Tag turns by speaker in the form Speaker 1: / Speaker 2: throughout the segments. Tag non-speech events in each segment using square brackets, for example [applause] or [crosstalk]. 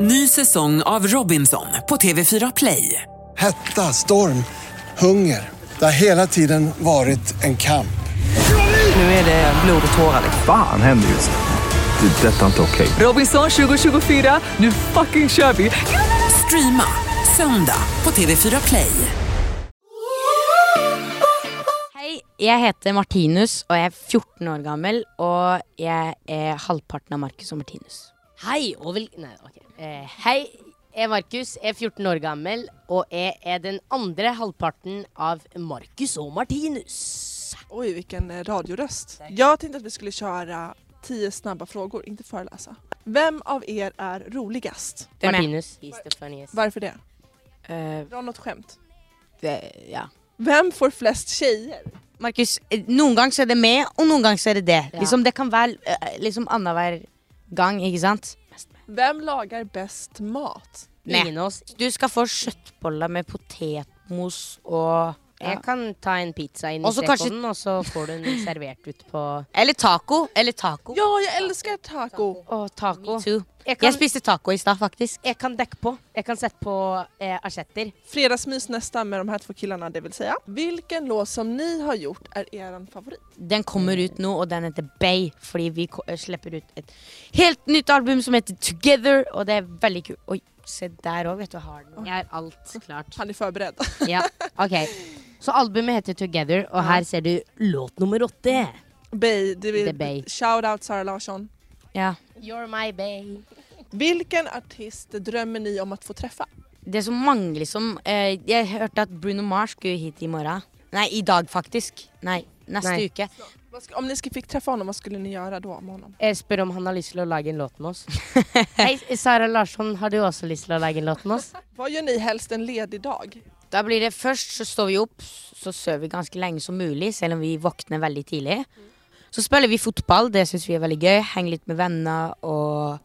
Speaker 1: Ny säsong av Robinson på TV4 Play.
Speaker 2: Hetta, storm, hunger. Det har hela tiden varit en kamp.
Speaker 1: Nu är det blod och tårar.
Speaker 3: Fan händer just nu. Det. är Detta är inte okej.
Speaker 1: Robinson 2024, nu fucking kör vi! Streama söndag på TV4 Play.
Speaker 4: Hei, jeg heter Martinus, og jeg er 14 år gammel, og jeg er halvparten av Markus og Martinus.
Speaker 5: Hei og vel... Nei, ok. Eh, hei, jeg er Markus, jeg er 14 år gammel, og jeg er den andre halvparten av Markus og Martinus.
Speaker 6: Oj, vilken eh, radioröst. Jag tänkte att vi skulle köra 10 snabba frågor, inte föreläsa. Vem av er är roligast?
Speaker 4: Hvem er
Speaker 5: Martinus. He's the funniest.
Speaker 6: Varför det?
Speaker 4: Eh,
Speaker 6: Dra något skämt.
Speaker 4: det, ja.
Speaker 6: Vem får flest tjejer?
Speaker 4: Markus, eh, noen gang så er det med, og noen gang så er det det.
Speaker 5: Ja.
Speaker 4: Liksom, det kan være eh, liksom annenhver gang, ikke sant?
Speaker 6: Vem lagar bäst mat?
Speaker 4: Nei.
Speaker 5: Ingen av oss.
Speaker 4: Du skal få kjøttboller med potetmos og ja.
Speaker 5: Jeg kan ta en pizza inn i
Speaker 4: Og så kanskje-
Speaker 5: stekeovnen, og så får du den servert ut på
Speaker 4: Eller taco. Eller taco.
Speaker 6: Ja, jag älskar taco.
Speaker 5: Å, taco.
Speaker 4: Me too. Jeg
Speaker 5: Jeg kan,
Speaker 4: spiste taco i stad, faktisk.
Speaker 5: jeg kan dekke på. Jeg kan sette på eh, asjetter.
Speaker 6: Fredagsmys nästa med de här två killarna, det vill säga. Vilken låt som ni har gjort är er favorit?
Speaker 4: Den kommer ut nå, og den heter Bay. Fordi vi ko- eh, slipper ut et helt nytt album som heter Together, og det er veldig kult. Oi, se der òg, vet du. Har den.
Speaker 5: Jeg har alt klart.
Speaker 6: Han är förberedd. [laughs]
Speaker 5: Ja, ok. Så albumet heter Together, og her ser du låt nummer åtte.
Speaker 6: Bay, det
Speaker 5: The
Speaker 6: vill...
Speaker 5: Bay.
Speaker 6: Shout out Sara Larsson.
Speaker 4: Ja.
Speaker 5: You're my babe.
Speaker 6: Vilken artist drömmer ni om att få träffa?
Speaker 4: Det som mangler som eh, Jeg hørte at Bruno Mars skulle hit i morgen. Nei, i dag, faktisk. Nei, neste
Speaker 5: Nei.
Speaker 4: uke.
Speaker 6: Vad sk- Om ni sk- fick träffa honom, vad skulle ni göra då med honom?
Speaker 5: Jeg spør om han har lyst til å lage en låt med [laughs] oss. Hei, Sara Larsson, har du også lyst til å lage en låt [laughs] med oss?
Speaker 6: Vad gör ni helst en ledig dag?
Speaker 4: Da blir det først så står vi opp, så sover vi ganske lenge som mulig, selv om vi våkner veldig tidlig. Så spiller vi fotball, det syns vi er veldig gøy. Henger litt med venner og,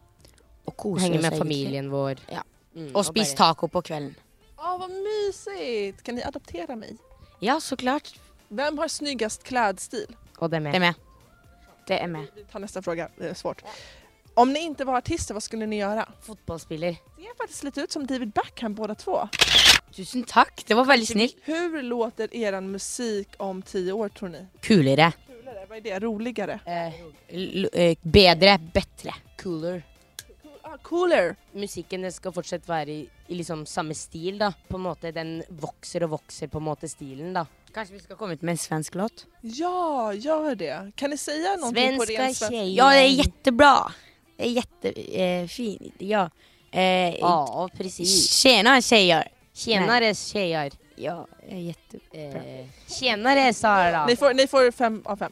Speaker 4: og koser
Speaker 5: Henge med
Speaker 4: egentlig.
Speaker 5: familien vår.
Speaker 4: Ja.
Speaker 5: Mm,
Speaker 4: Og spis
Speaker 5: bare-
Speaker 4: taco på kvelden.
Speaker 6: Åh, vad mysigt! Kan ni adoptera mig?
Speaker 4: Ja, så klart.
Speaker 6: Vem har snyggast klädstil?
Speaker 5: Og det
Speaker 4: Det
Speaker 5: med.
Speaker 4: er med. Det er med.
Speaker 6: Vi tar nästa fråga, det är svårt. Om ni inte var artister, vad skulle ni göra?
Speaker 5: Fotballspiller.
Speaker 6: Ni ser faktiskt lite ut som David Beckham båda två.
Speaker 4: Tusen takk, det var veldig snill.
Speaker 6: Hur låter er musik om tio år tror ni?
Speaker 4: Kulere.
Speaker 6: Kulare, vad är det? Roligare?
Speaker 4: L eh, bedre. Bedre.
Speaker 5: Cooler.
Speaker 6: Ah, cooler!
Speaker 5: Musikken det skal fortsatt være i, i liksom samme stil, da. På en måte, Den vokser og vokser, på en måte, stilen, da.
Speaker 4: Kanskje vi skal komme ut med en svensk låt?
Speaker 6: Ja, gör det! Kan ni säga någonting på
Speaker 5: Svenska
Speaker 6: ren svenska?
Speaker 5: tjejer.
Speaker 4: Ja, det er jättebra. Det er jättefint. ja. Eh,
Speaker 5: Ja, precis.
Speaker 4: Tjena tjejer.
Speaker 5: Tjenere, tjejer.
Speaker 4: Ja, jag är jätte...
Speaker 5: Eh, Tjenere, Sara.
Speaker 6: Ni får, ni får fem av fem.